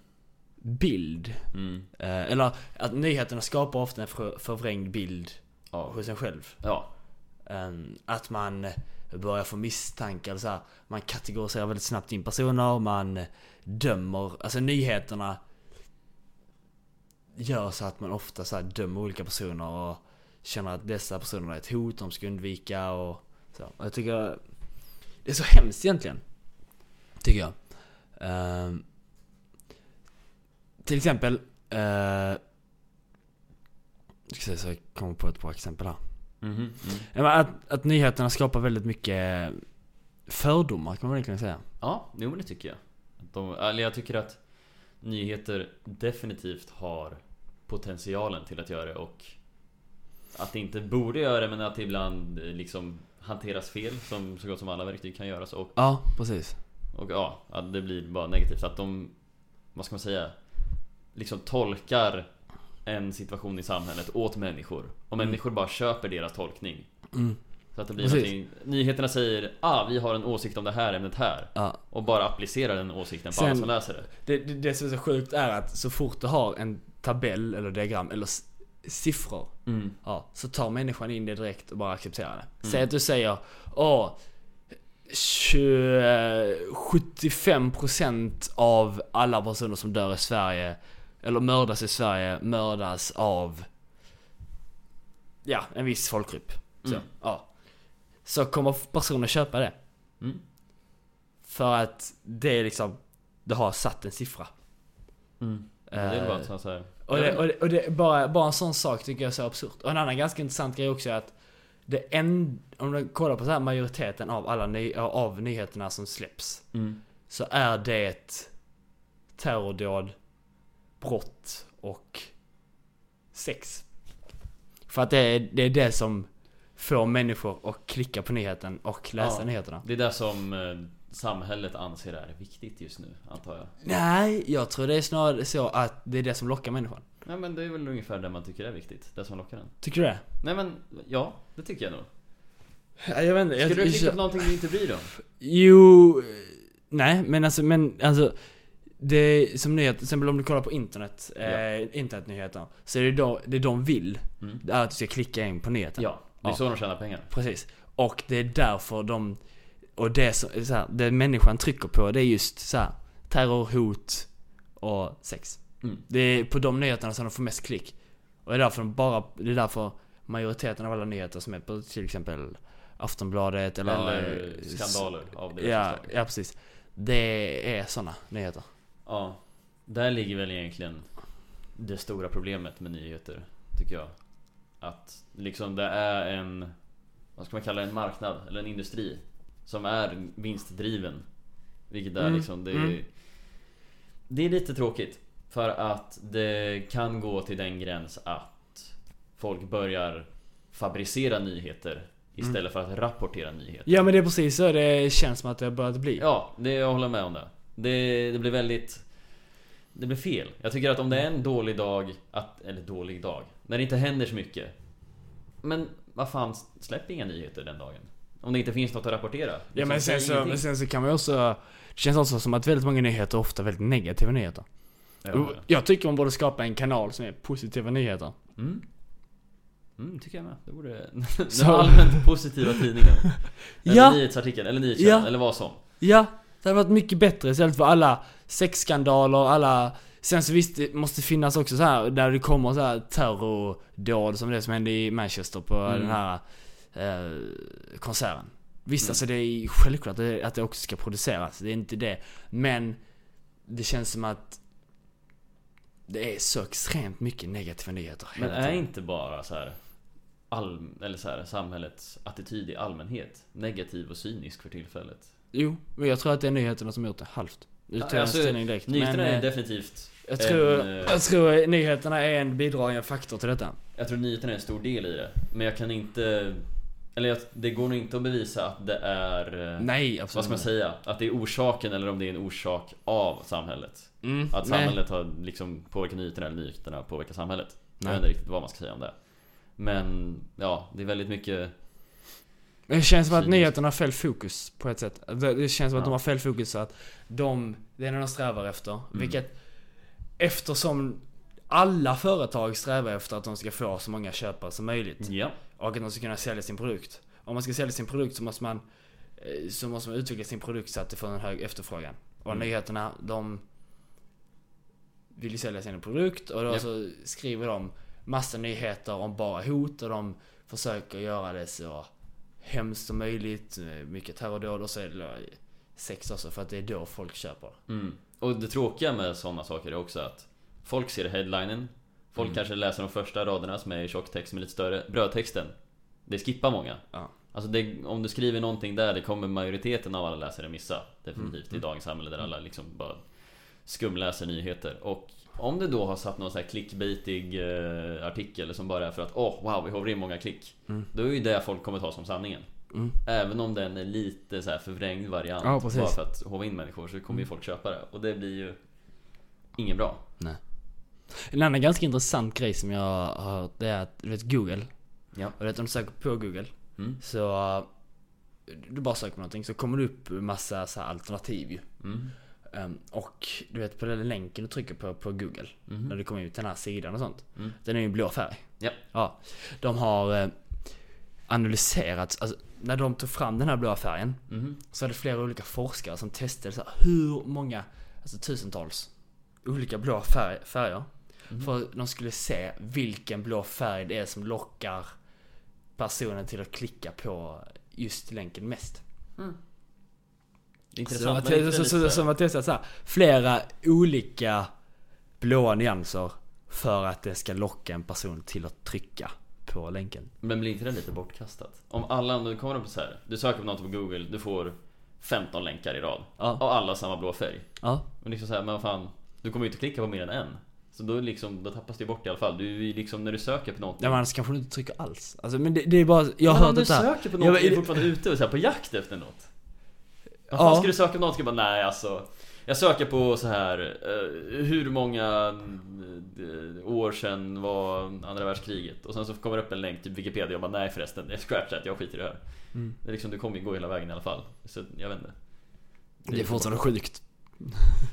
D: bild.
C: Mm.
D: Eh, eller att nyheterna skapar ofta en för, förvrängd bild
C: Ja.
D: hos en själv.
C: Ja.
D: Ehm, att man börjar få misstankar, eller så här, man kategoriserar väldigt snabbt in personer, man dömer, alltså nyheterna gör så att man ofta så här dömer olika personer och känner att dessa personer är ett hot, de ska undvika och så. Och jag tycker det är så hemskt egentligen. Tycker jag. Ehm, till exempel... Uh, jag ska se så jag kommer på ett bra exempel här.
C: Mhm, mm.
D: Ja, men Att, att nyheterna skapar väldigt mycket fördomar kan man verkligen säga.
C: Ja, jo men det tycker jag. Att De, eller jag tycker att nyheter definitivt har potentialen till att göra det och att det inte borde göra det men att det ibland eh, liksom hanteras fel som så gott som alla verktyg kan göras och,
D: Ja, precis.
C: och ja, att det blir bara negativt. Att de, vad ska man säga, liksom tolkar en situation i samhället åt människor och
D: Mm.
C: människor bara köper deras tolkning.
D: Mm.
C: Så att det blir
D: Precis.
C: någonting, nyheterna säger ah vi har en åsikt om det här ämnet här
D: Ja.
C: och bara applicera den åsikten på
D: Sen-
C: alla som läser det.
D: Det, det, det som är så sjukt är att så fort du har en tabell eller diagram eller s- siffror
C: Mm.
D: Ja, så tar människan in det direkt och bara accepterar det. Säg att du säger Åh, 20, 75% av alla personer som dör i Sverige eller mördas i Sverige mördas av ja, en viss folkgrupp. Så,
C: Mm.
D: ja. så kommer personer köpa det.
C: Mm.
D: För att det är liksom, du har satt en siffra.
C: Det är väl
D: Eh,
C: bara så här- så här.
D: och det, och det, och det bara, bara en sån sak tycker jag är så absurt. Och en annan ganska intressant grej också är att det en, om du kollar på så här majoriteten av alla ny, av nyheterna som släpps
C: Mm.
D: så är det ett terrordåd, brott och sex. För att det är, det är det som får människor att klicka på nyheten och läsa
C: Ja.
D: nyheterna.
C: Det är det som eh, samhället anser är viktigt just nu, antar jag.
D: Nej, jag tror det är snarare så att det är det som lockar människan.
C: Nej men det är väl ungefär det man tycker är viktigt, det som lockar en.
D: Tycker du det?
C: Nej men, ja, det tycker jag nog.
D: Jag vet inte.
C: Skulle du klicka på någonting du inte bryr dig om?
D: Jo, eh, nej men alltså, men alltså det är som nyhet, till exempel om du kollar på internet, eh, internetnyheter Så är det, då, det de vill,
C: Mm.
D: det är att du ska klicka in på nyheten
C: Ja, det är
D: Ja.
C: så de tjänar pengar.
D: Precis, och det är därför de, och det som, så här, det människan trycker på det är just så här, terror, hot och sex
C: Mm.
D: Det är på de nyheterna som de får mest klick Och det är därför de bara, det är därför majoriteten av alla nyheter som är på till exempel Aftonbladet eller,
C: Eller
D: eh,
C: skandaler av det
D: Ja,
C: slaget.
D: ja precis. Det är såna nyheter.
C: ja. Där ligger väl egentligen det stora problemet med nyheter, tycker jag. Att liksom det är en, vad ska man kalla det, en marknad eller en industri som är vinstdriven. Vilket är
D: Mm,
C: liksom, det är,
D: mm.
C: det är lite tråkigt. För att det kan gå till den gräns att folk börjar fabricera
D: Mm.
C: nyheter istället för att rapportera nyheter.
D: Ja men det är precis så det känns som att det har börjat bli.
C: Ja, det, jag håller med om det. det. Det blir väldigt... Det blir fel. Jag tycker att om det är en dålig dag, att, eller dålig dag, när det inte händer så mycket. Men vad fan, släpp inga nyheter den dagen. Om det inte finns något att rapportera.
D: Ja men
C: Liksom,
D: sen
C: säg
D: så, men
C: ingenting.
D: sen så kan man ju också... Det känns också som att väldigt många nyheter är ofta väldigt negativa nyheter. Oh.
C: Ja, ja.
D: Jag tycker man borde skapa en kanal som är positiva nyheter.
C: Mm. Mm, tycker jag med. Det borde... Den
D: Så-
C: allmänt positiva tidningen. Eller
D: Ja.
C: nyhetsartikeln, eller nyhetskällan,
D: Ja.
C: eller vad som.
D: Ja, det hade varit mycket bättre istället för alla sexskandaler, alla... Sen så visst, det måste finnas också så här där det kommer så här terrordåd som det som hände i Manchester på
C: Mm.
D: den här eh, konserten. Visst,
C: Mm.
D: alltså det är självklart att det, att det också ska produceras, det är inte det. Men det känns som att det är så extremt mycket negativa nyheter
C: Men
D: hela
C: är
D: tiden.
C: inte bara så här, all, eller så här, samhällets attityd i allmänhet negativ och cynisk för tillfället?
D: Jo, men jag tror att det är nyheterna som gjort det, halvt. Nu tar jag en
C: Alltså,
D: ställning direkt.
C: Nyheterna
D: men,
C: är
D: eh,
C: definitivt
D: jag, tror,
C: en, eh,
D: jag tror nyheterna är en bidragande faktor till detta.
C: Jag tror nyheterna är en stor del i det Men jag kan inte Eller jag, det går nog inte att bevisa att det är eh,
D: Nej,
C: Vad
D: absolut
C: ska man säga? Att det är orsaken eller om det är en orsak av samhället
D: Mm,
C: Att
D: nej.
C: samhället har liksom påverkat nyheterna eller nyheterna påverkar samhället Jag
D: Nej.
C: vet inte riktigt vad man ska säga om det Men ja, det är väldigt mycket
D: Men det känns som att
C: Cyniskt.
D: nyheterna har fel fokus på ett sätt. Det, det känns som att
C: Ja. Mm.
D: de har fel fokus så att de, det är det de strävar efter. Vilket eftersom alla företag strävar efter att de ska få så många köpare som möjligt.
C: Ja,
D: Och att de ska kunna sälja sin produkt. Om man ska sälja sin produkt så måste man eh, så måste Mm. man utveckla sin produkt så att det får en hög efterfrågan. Och nyheterna, de vill ju sälja sin produkt och då
C: Japp.
D: så skriver de massa nyheter om bara hot och de försöker göra det så hemskt som möjligt. eh, Mycket terrordåd och så är det sex också för att det är då folk köper.
C: Mm. Och det tråkiga med sådana saker är också att folk ser headlinen, folk
D: Mm.
C: kanske läser de första raderna som är i tjocktext med lite större, brödtexten. Det skippar många.
D: Ja.
C: Alltså det, om du skriver någonting där, det kommer majoriteten av alla läsare missa. Definitivt
D: Mm,
C: i dagens samhälle där alla liksom bara skumläser nyheter. Och om du då har satt någon sån här clickbaitig eh, artikel som bara är för att åh oh, wow, vi håver in många klick.
D: Mm.
C: Då är ju det folk kommer ta som sanningen. Även om den är lite så här förvrängd variant
D: Ja, precis. Mm.
C: bara för att håva in människor så kommer ju folk köpa det. Och det blir ju inget bra.
D: Nej. En annan ganska intressant grej som jag har hört det är att du vet Google.
C: Ja.
D: Och vet om du söker på Google.
C: Mm.
D: Så eh, du bara söker på någonting så kommer det upp massa så här alternativ ju.
C: Mm.
D: Ehm, och du vet på den länken du trycker på på Google.
C: Mhm.
D: När du kommer ut till den här sidan och sånt.
C: Mm.
D: Den är ju i blå färg.
C: Ja.
D: Ja. De har eh, analyserat, alltså, när de tog fram den här blåa färgen.
C: Mhm.
D: Så var det flera olika forskare som testade så här, hur många, alltså tusentals, olika blå färg, färger.
C: Mhm.
D: För att de skulle se vilken blå färg det är som lockar personen till att klicka på just länken mest.
C: Det är
D: Som
C: Intressant.
D: att,
C: men inte
D: så, så,
C: lite-
D: så, som att testa så här, flera olika blåa nyanser för att det ska locka en person till att trycka på länken.
C: Men blir inte det lite bortkastat? Om alla, om du kommer upp så här, du söker på något på google, du får 15 länkar i rad
D: Ja.
C: och alla samma blå färg.
D: Ja,
C: Och liksom så här, men vad fan, du kommer ju inte klicka på mer än en. Så då, liksom, då tappas det ju bort i alla fall. Du är ju liksom, när du söker på något.
D: men annars kanske du inte trycker alls. Alltså, men det, det är bara, jag har
C: men
D: hört
C: om du
D: detta.
C: söker på
D: Ja,
C: något
D: men-
C: är du fortfarande ute och så här, på jakt efter något. Vad
D: Ja.
C: fan ska du söka på något? Ska du bara, nej alltså. Jag söker på så här eh, hur många eh, år sedan var andra världskriget? Och sen så kommer det upp en länk till Wikipedia och bara nej förresten, det är scratchat, jag skiter i det här.
D: Mm.
C: Det är liksom, du kommer ju gå hela vägen i alla fall. Så jag vet inte.
D: Det är fortfarande sjukt,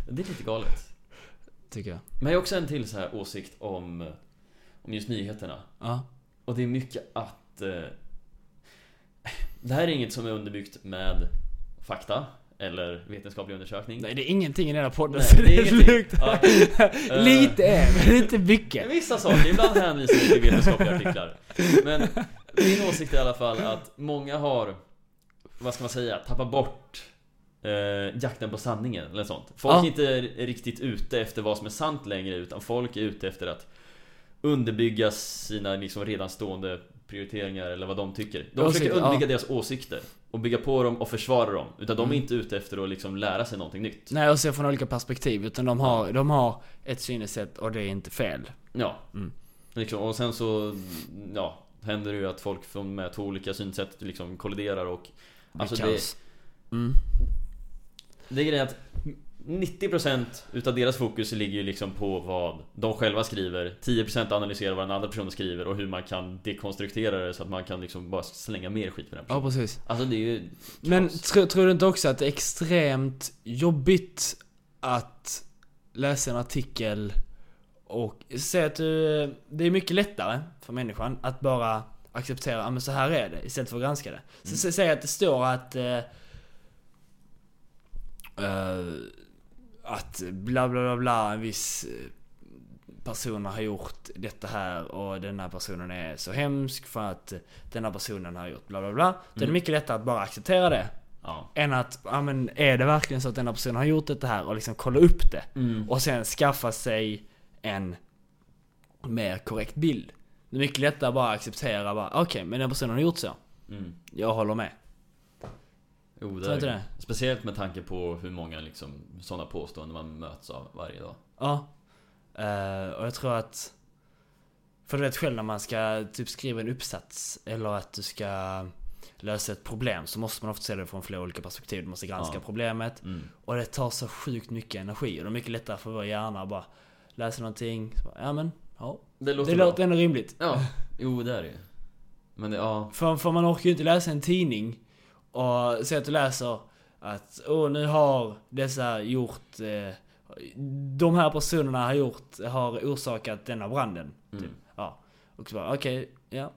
C: Det är lite galet.
D: tycker jag.
C: Men jag har också en till så här åsikt om, om just nyheterna.
D: Ja.
C: Och det är mycket att... Eh, det här är inget som är underbyggt med fakta eller vetenskaplig undersökning.
D: Nej, det är ingenting i den här podden
C: Nej,
D: så det är,
C: ingenting.
D: sjukt.
C: Ja. Eh,
D: Lite är men inte mycket.
C: Vissa saker, ibland hänvisar vi till vetenskapliga artiklar. Men min åsikt är i alla fall att många har, vad ska man säga, tappat bort eh, jakten på sanningen eller sånt. Folk
D: Ja.
C: är inte riktigt ute efter vad som är sant längre utan folk är ute efter att underbygga sina liksom redan stående prioriteringar eller vad de tycker. De
D: Åsikter,
C: försöker
D: ja. Mm.
C: underbygga deras åsikter och bygga på dem och försvara dem. Utan de är inte ute efter att liksom lära sig någonting nytt.
D: Nej, och se från olika perspektiv. Utan de har, de har ett synsätt och det är inte fel.
C: Ja.
D: Mm.
C: Liksom, och sen så ja, händer det ju att folk från med två olika synsätt liksom kolliderar och... Alltså det,
D: kaos. Mm.
C: det är grejen att 90% utav deras fokus ligger ju liksom på vad de själva skriver 10% analyserar vad den andra personen skriver och hur man kan dekonstruera det så att man kan liksom bara slänga mer skit på den
D: Ja,
C: personen.
D: precis.
C: Alltså det är ju...
D: Men
C: kaos.
D: tro, tror du inte också att det är extremt jobbigt att läsa en artikel och säg att du, det är mycket lättare för människan att bara acceptera, ja men så här är det, istället för att granska det. Så sä- säg att det står att eh, eh, att bla bla bla bla, en viss eh, person har gjort detta här och den här personen är så hemsk för att den här personen har gjort bla bla bla. Då är det mycket lättare att bara acceptera det.
C: Ja.
D: Än att, ja men är det verkligen så att den här personen har gjort detta här och liksom kolla upp det.
C: Mm.
D: Och sen skaffa sig en mer korrekt bild. Det är mycket lättare att bara acceptera bara, okej men den personen har gjort så.
C: Mm.
D: Jag håller med.
C: Jo,
D: Tror
C: det
D: inte
C: är,
D: det?
C: speciellt med tanke på hur många liksom, sådana påståenden man möts av varje dag.
D: Ja. Eh, och jag tror att... För du vet själv när man ska typ skriva en uppsats eller att du ska lösa ett problem så måste man ofta se det från flera olika perspektiv. Du måste granska
C: Ja.
D: problemet.
C: Mm.
D: Och det tar så sjukt mycket energi och det är mycket lättare för vår hjärna att bara läsa någonting. Så bara, ja men, ja.
C: Det låter
D: Det
C: bra.
D: låter ändå rimligt.
C: Ja, jo det är det ju. Men det, ja.
D: För, för man orkar ju inte läsa en tidning och se att du läser att åh nu har dessa gjort eh, De här personerna har gjort, har orsakat denna branden.
C: Mm.
D: Typ. Ja. Och så bara okej, ja.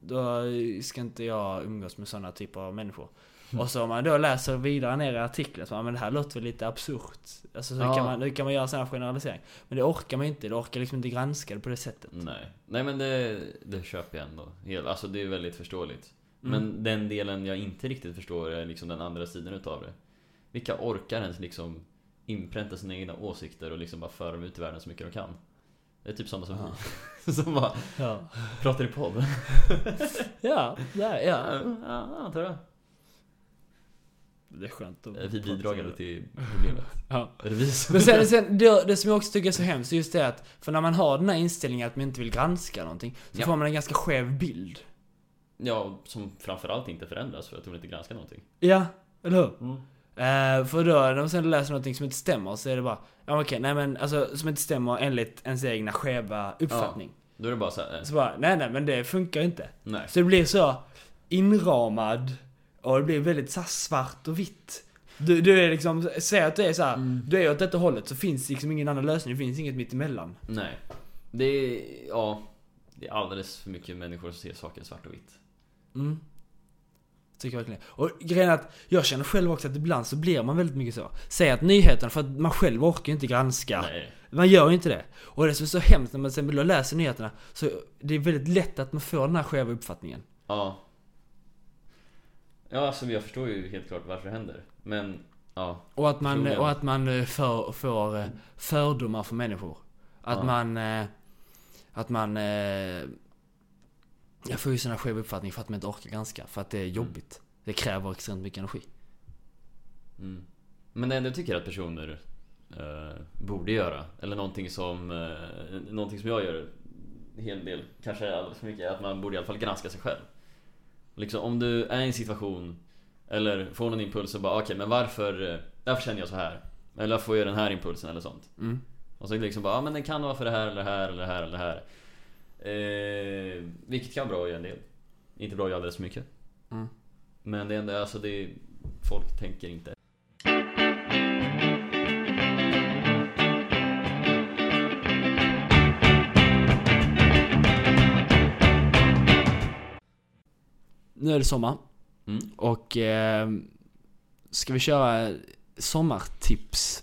D: då ska inte jag umgås med sådana typer av människor.
C: Mm.
D: Och så om man då läser vidare ner i artikeln, så bara, men det här låter väl lite absurt. Alltså hur,
C: Ja.
D: kan man, hur kan man göra sådana generaliseringar? Men det orkar man inte, det orkar liksom inte granska det på det sättet.
C: Nej, Nej men det, det köper jag ändå. Hela- Alltså det är väldigt förståeligt.
D: Mm.
C: Men den delen jag inte riktigt förstår är liksom den andra sidan utav det. Vilka orkar ens liksom inpränta sina egna åsikter och liksom bara föra dem ut i världen så mycket de kan? Det är typ sådana som vi. som bara
D: Ja,
C: pratar i podd.
D: ja, ja.
C: Ja,
D: ja.
C: ja, antar jag.
D: Det är skönt att...
C: Eh, Vi bidragade till problemet.
D: Ja.
C: Är det vi som...
D: Men sen, sen det, det som jag också tycker är så hemskt, just det att, för när man har den här inställningen att man inte vill granska någonting, så
C: Ja.
D: får man en ganska skev bild.
C: Ja, som framförallt inte förändras för att de vill inte granska någonting.
D: Ja, eller hur?
C: Mm.
D: Eh, för då, när man sen läser någonting som inte stämmer så är det bara, ja okej, nej men alltså som inte stämmer enligt ens egna skeva uppfattning.
C: Då är det bara så här, eh,
D: Så bara, nej nej men det funkar ju inte.
C: nej.
D: Så det blir så inramad och det blir väldigt så här svart och vitt. Du, du är liksom, säg att du är så här,
C: Mm.
D: du är åt detta hållet så finns liksom ingen annan lösning, det finns inget mittemellan.
C: Nej. Det är, ja. Det är alldeles för mycket människor som ser saker svart och vitt.
D: Mm. Tycker jag verkligen. Och grejen är att jag känner själv också att ibland så blir man väldigt mycket så. Säg att nyheterna, för att man själv orkar ju inte granska.
C: Nej.
D: Man gör ju inte det. Och det som är så hemskt när man sen vill läsa nyheterna, så det är väldigt lätt att man får den här skeva uppfattningen.
C: Ja. Ja, alltså jag förstår ju helt klart varför det händer. Men, ja.
D: Och att man,
C: Troligen.
D: och att man eh, för, får eh, fördomar för människor. Att
C: Ja.
D: man... eh, Att man... eh, Jag får ju sån här skev uppfattning för att man inte orkar granska. För att det är jobbigt. Det kräver extremt mycket energi.
C: Mm. Men det enda jag tycker att personer eh, borde göra, eller någonting som, eh, någonting som jag gör en hel del, kanske alldeles för mycket, är att man borde i alla fall granska sig själv. Liksom om du är i en situation, eller får någon impuls och bara okej men varför, eh, varför känner jag så här? Eller varför får jag den här impulsen eller sånt?
D: Mm.
C: Och så liksom bara, ja men den kan vara för det här eller det här eller det här eller det här. Eh, vilket kan vara bra i en del. Inte bra i alldeles för mycket.
D: Mm.
C: Men det enda, alltså det är, folk tänker inte
D: Nu är det sommar.
C: Mm.
D: Och... Eh, ska vi köra sommartips?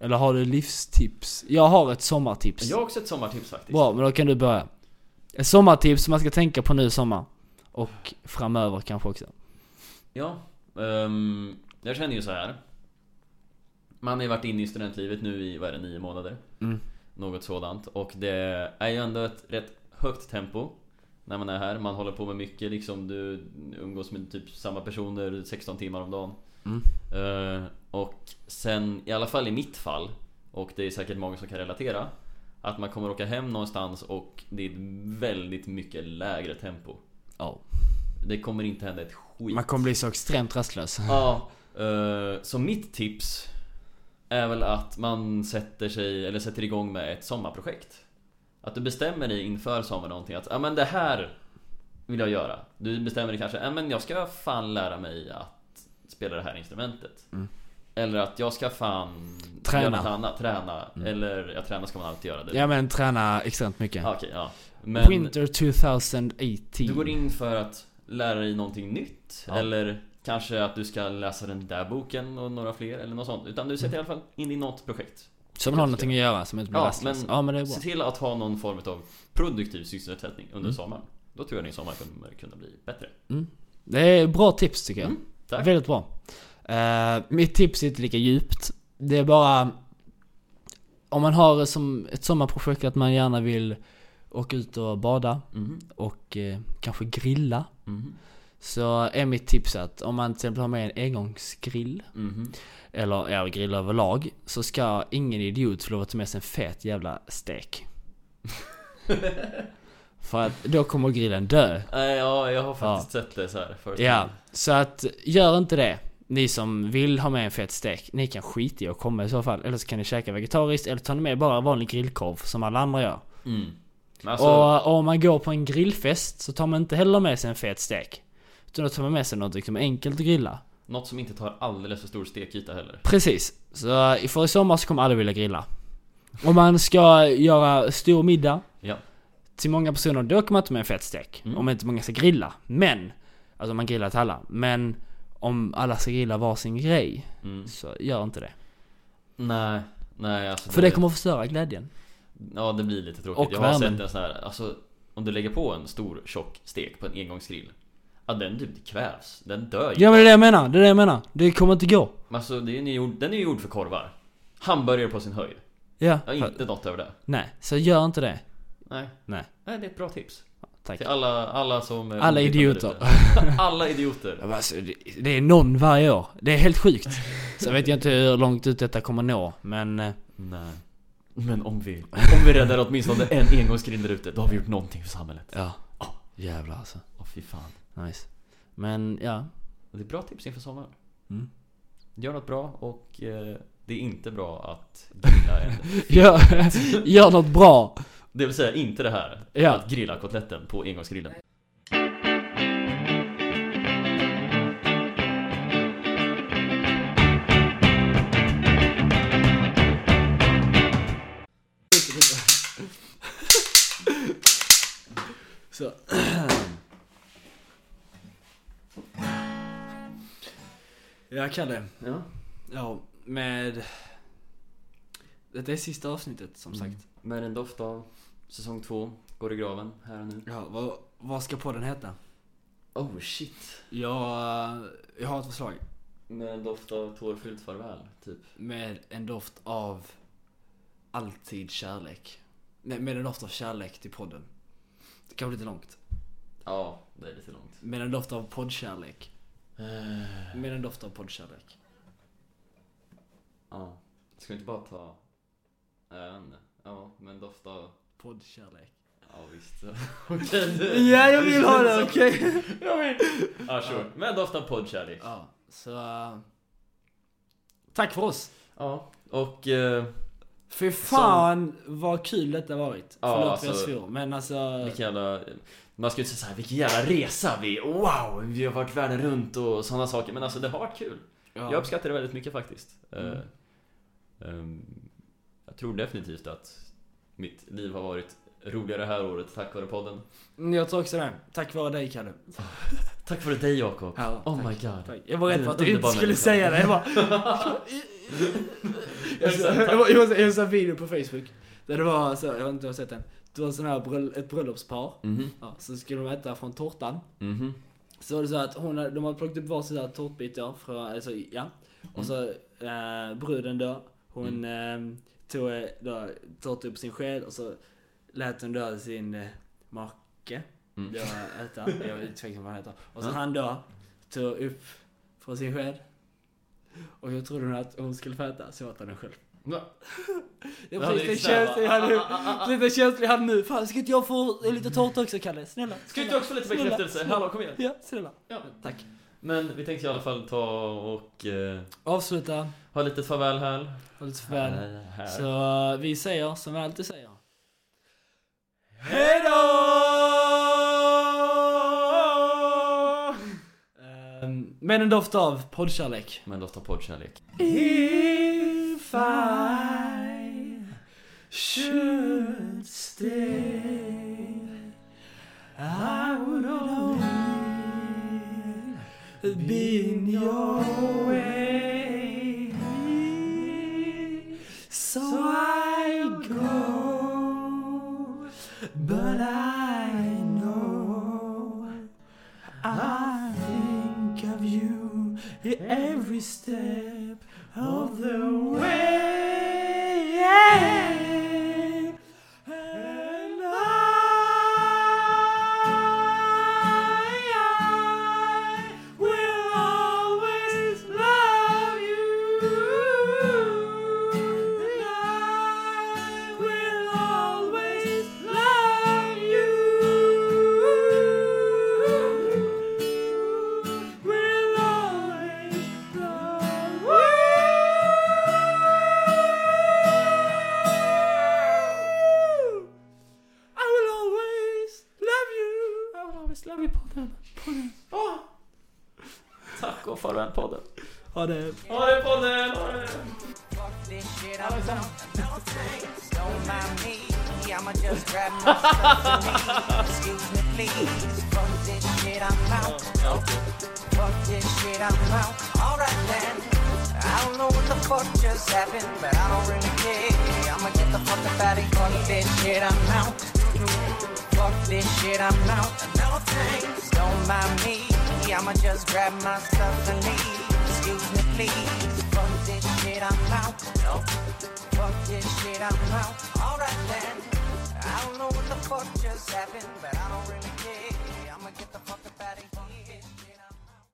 D: Eller har du livstips? Jag har ett sommartips.
C: Jag har också ett sommartips faktiskt.
D: Bra, men då kan du börja. Ett sommartips som man ska tänka på nu i sommar. Och framöver kanske också.
C: Ja. ehm, jag känner ju så här. Man har ju varit inne i studentlivet nu i, vad är det, nio månader?
D: Mm.
C: Något sådant. Och det är ju ändå ett rätt högt tempo. När man är här. Man håller på med mycket liksom. Du umgås med typ samma personer 16 timmar om dagen.
D: Mm.
C: Eh, och sen, i alla fall i mitt fall. Och det är säkert många som kan relatera. Att man kommer åka hem någonstans och det är ett väldigt mycket lägre tempo.
D: Ja.
C: Det kommer inte hända ett skit.
D: Man kommer bli så extremt rastlös.
C: Ja, eh, så mitt tips är väl att man sätter sig, eller sätter igång med ett sommarprojekt. Att du bestämmer dig inför sommaren någonting att ja men det här vill jag göra. Du bestämmer dig kanske, ja men jag ska fan lära mig att spela det här instrumentet.
D: Mm.
C: Eller att jag ska fan
D: Träna. Mm.
C: göra något annat, träna. Eller, ja träna ska man alltid göra det.
D: Ja men träna extremt mycket.
C: Ah, Okej, ja. Men
D: Winter 2018.
C: du går in för att lära dig någonting nytt
D: Ja.
C: Eller kanske att du ska läsa den där boken och några fler eller något sånt Utan du sätter i
D: Mm.
C: alla fall in i något projekt
D: så man har någonting att göra som inte blir
C: Ja,
D: rastlös.
C: men-
D: ja men det är bra. Mm.
C: Se till att ha någon form av produktiv sysselsättning under sommaren Då tror jag din sommar kommer kunna bli bättre
D: Det är bra tips tycker jag.
C: Mm, tack.
D: Väldigt bra. Eh, mitt tips är inte lika djupt. Det är bara... Om man har som ett sommarprojekt att man gärna vill åka ut och bada
C: Mhm,
D: och eh, kanske grilla.
C: mhm,
D: Så är mitt tips att om man till exempel har med en engångsgrill
C: mhm.
D: eller ja, grill överlag så ska ingen idiot få lov att ta med sig en fet jävla stek. För att då kommer grillen dö.
C: Nej, Eh, Ja, jag har faktiskt sett det så här förut
D: Ja, så att gör inte det. Ni som vill ha med en fet stek, ni kan skita i att komma i så fall. Eller så kan ni käka vegetariskt, eller ta med bara vanlig grillkorv som alla andra gör.
C: mm. Men alltså,
D: och, och om man går på en grillfest så tar man inte heller med sig en fet stek. Utan då tar man med sig något liksom enkelt att grilla.
C: något som inte tar alldeles för stor stekyta heller
D: Precis. Så eh, i- för i sommar så kommer alla vilja grilla. Om man ska göra stor middag,
C: Ja,
B: till många personer då kan man inte med en fet stek.
C: Mm.
B: Om inte många ska grilla. Men, alltså man grillar till alla. Men om alla ska grilla varsin grej,
C: Mm.
B: så gör inte det.
C: Nej, nej alltså
B: För det kommer förstöra glädjen.
C: Ja det blir lite tråkigt.
B: Och
C: jag har
B: värmen.
C: sett en sån här, alltså om du lägger på en stor tjock stek på en engångsgrill. Ja den typ kvävs, den dör ju.
B: Ja men det är det jag menar, det är det jag menar. Det kommer inte gå.
C: Men Alltså det är ju gjord, den är ju gjord för korvar. Hamburgare på sin höjd.
B: Ja,
C: Ja, inte något över det.
B: nej. Så gör inte det.
C: Nej.
B: Nej.
C: Nej det är ett bra tips.
B: Tack.
C: Till alla, alla som... är
B: Alla
C: ovetande
B: idioter.
C: ute. alla idioter.
B: Ja, men Alltså, det- det är någon varje år. Det är helt sjukt. Sen vet jag inte hur långt ut detta kommer nå, men... eh,
C: Nej. Men om vi, om vi räddar åtminstone en engångsgrill där ute, då har vi gjort någonting för samhället.
B: Ja. Jävlar alltså.
C: Åh fy fan.
B: Nice. Men ja.
C: Det är bra tips inför sommaren.
B: Mm.
C: Gör något bra och eh, det är inte bra att grilla en
B: Gör, gör något bra.
C: Det vill säga inte det här.
B: Ja.
C: Att grilla kotletten på engångsgrillen.
B: Så. Ja, Kalle.
C: Ja.
B: Ja, med... Detta är sista avsnittet som sagt.
C: Med en doft av säsong två, går i graven här och nu.
B: Ja, vad, vad ska podden heta?
C: Oh shit.
B: Jag, eh, jag har ett förslag.
C: Med en doft av tårfyllt farväl, typ.
B: Med en doft av alltid kärlek. Nej, med en doft av kärlek till podden. Det kan bli lite långt.
C: Ja, det är lite långt.
B: Med en doft av poddkärlek.
E: Eh.
B: Med en doft av poddkärlek.
C: Ja. Ska vi inte bara ta... Ja, Jag vet inte. Ja, med en doft av...
B: Poddkärlek.
C: Ja visst. Okej.
E: Ja, jag vill ha det, okej?
C: Jag vill. Ja, sure. Med en doft av poddkärlek.
B: Ja, så... eh, Tack för oss!
C: Ja. Och... Eh,
B: Fy fan vad kul detta varit.
C: Ja,
B: Förlåt för jag
C: alltså-
B: svor, men alltså...
C: Vilken jävla... Man skulle inte säga såhär, vilken jävla resa vi... Wow! Vi har varit världen runt och sådana saker. Men alltså det har varit kul.
B: Ja.
C: Jag uppskattar det väldigt mycket faktiskt.
B: Mm.
C: Eh, ehm, jag tror definitivt att mitt liv har varit roligare det här året tack vare podden.
B: Mm, jag tror också det. Tack vare dig Kalle.
C: Tack vare dig Jakob.
B: Ja,
C: oh
B: tack.
C: my god.
B: Tack. Jag var rädd för att
C: Du är
B: du
C: en
B: inte
C: underbar
B: skulle
C: människa.
B: säga det. Jag bara... jag såg jag såg- jag såg en video på Facebook. Där det var så, jag vet inte om du har sett den. Det var en sån här bröll, ett bröllopspar.
C: Mhm,
B: Ja, så skulle de äta från tårtan.
C: mhm,
B: Så var det så att hon, hade- de hade plockat upp varsin där tårtbitar från, alltså, ja. Och så eh, bruden då,
C: Mm.
B: hon eh, tog eh, då, tårta upp sin sked och så lät hon då sin eh, make
C: Mm.
B: då äta, jag är tveksam vad han heter. Och så han då tog upp från sin sked. Och jag trodde hon att hon skulle få äta, så åt han den själv.
C: Va?
B: Det
C: Ja,
B: var precis
C: det är Ah,
B: den
C: snälla.
B: känslan jag hade nu. Lite känslan jag hade nu. Fan, ska inte jag få eh, lite tårta också Kalle? Snälla.
C: Ska inte jag också få lite bekräftelse? Hallå kom igen.
B: Ja, snälla.
C: Ja.
B: Tack.
C: Men vi tänkte i alla fall ta och eh,
B: Avsluta.
C: ha lite farväl här.
B: Ha lite farväl.
C: Här, här.
B: Så eh, vi säger som vi alltid säger. Hejdå! Ehm, Med en doft av poddkärlek.
C: Men låt ta poddkärlek.
B: If I should stay I would only be in your way So I go But I know I think of you every step of the way. And I, I will always love you. And I will always love you. Will always love you. I will always love you. I will always love you podden. Podden. Oh.
C: Tack och farväl podden.
B: Ha det.
C: Ha det podden! Ha det.
F: Fuck this shit on its own. No thanks, don't mind me. I'ma just grab my stuff to me. Excuse me, please. Fuck this shit, I'm out. Fuck this shit, I'm out. Alright then. I don't know what the fuck just happened, but I don't really care. I'ma get the fuck up out of here. Fuck this shit, I'm out. Fuck this shit, I'm out. No thanks, don't mind me. I'ma just grab my stuff and leave. Excuse me, please. Fuck this shit, I'm out. No. Fuck this shit, I'm out. Alright then. I don't know what the fuck just happened, but I don't.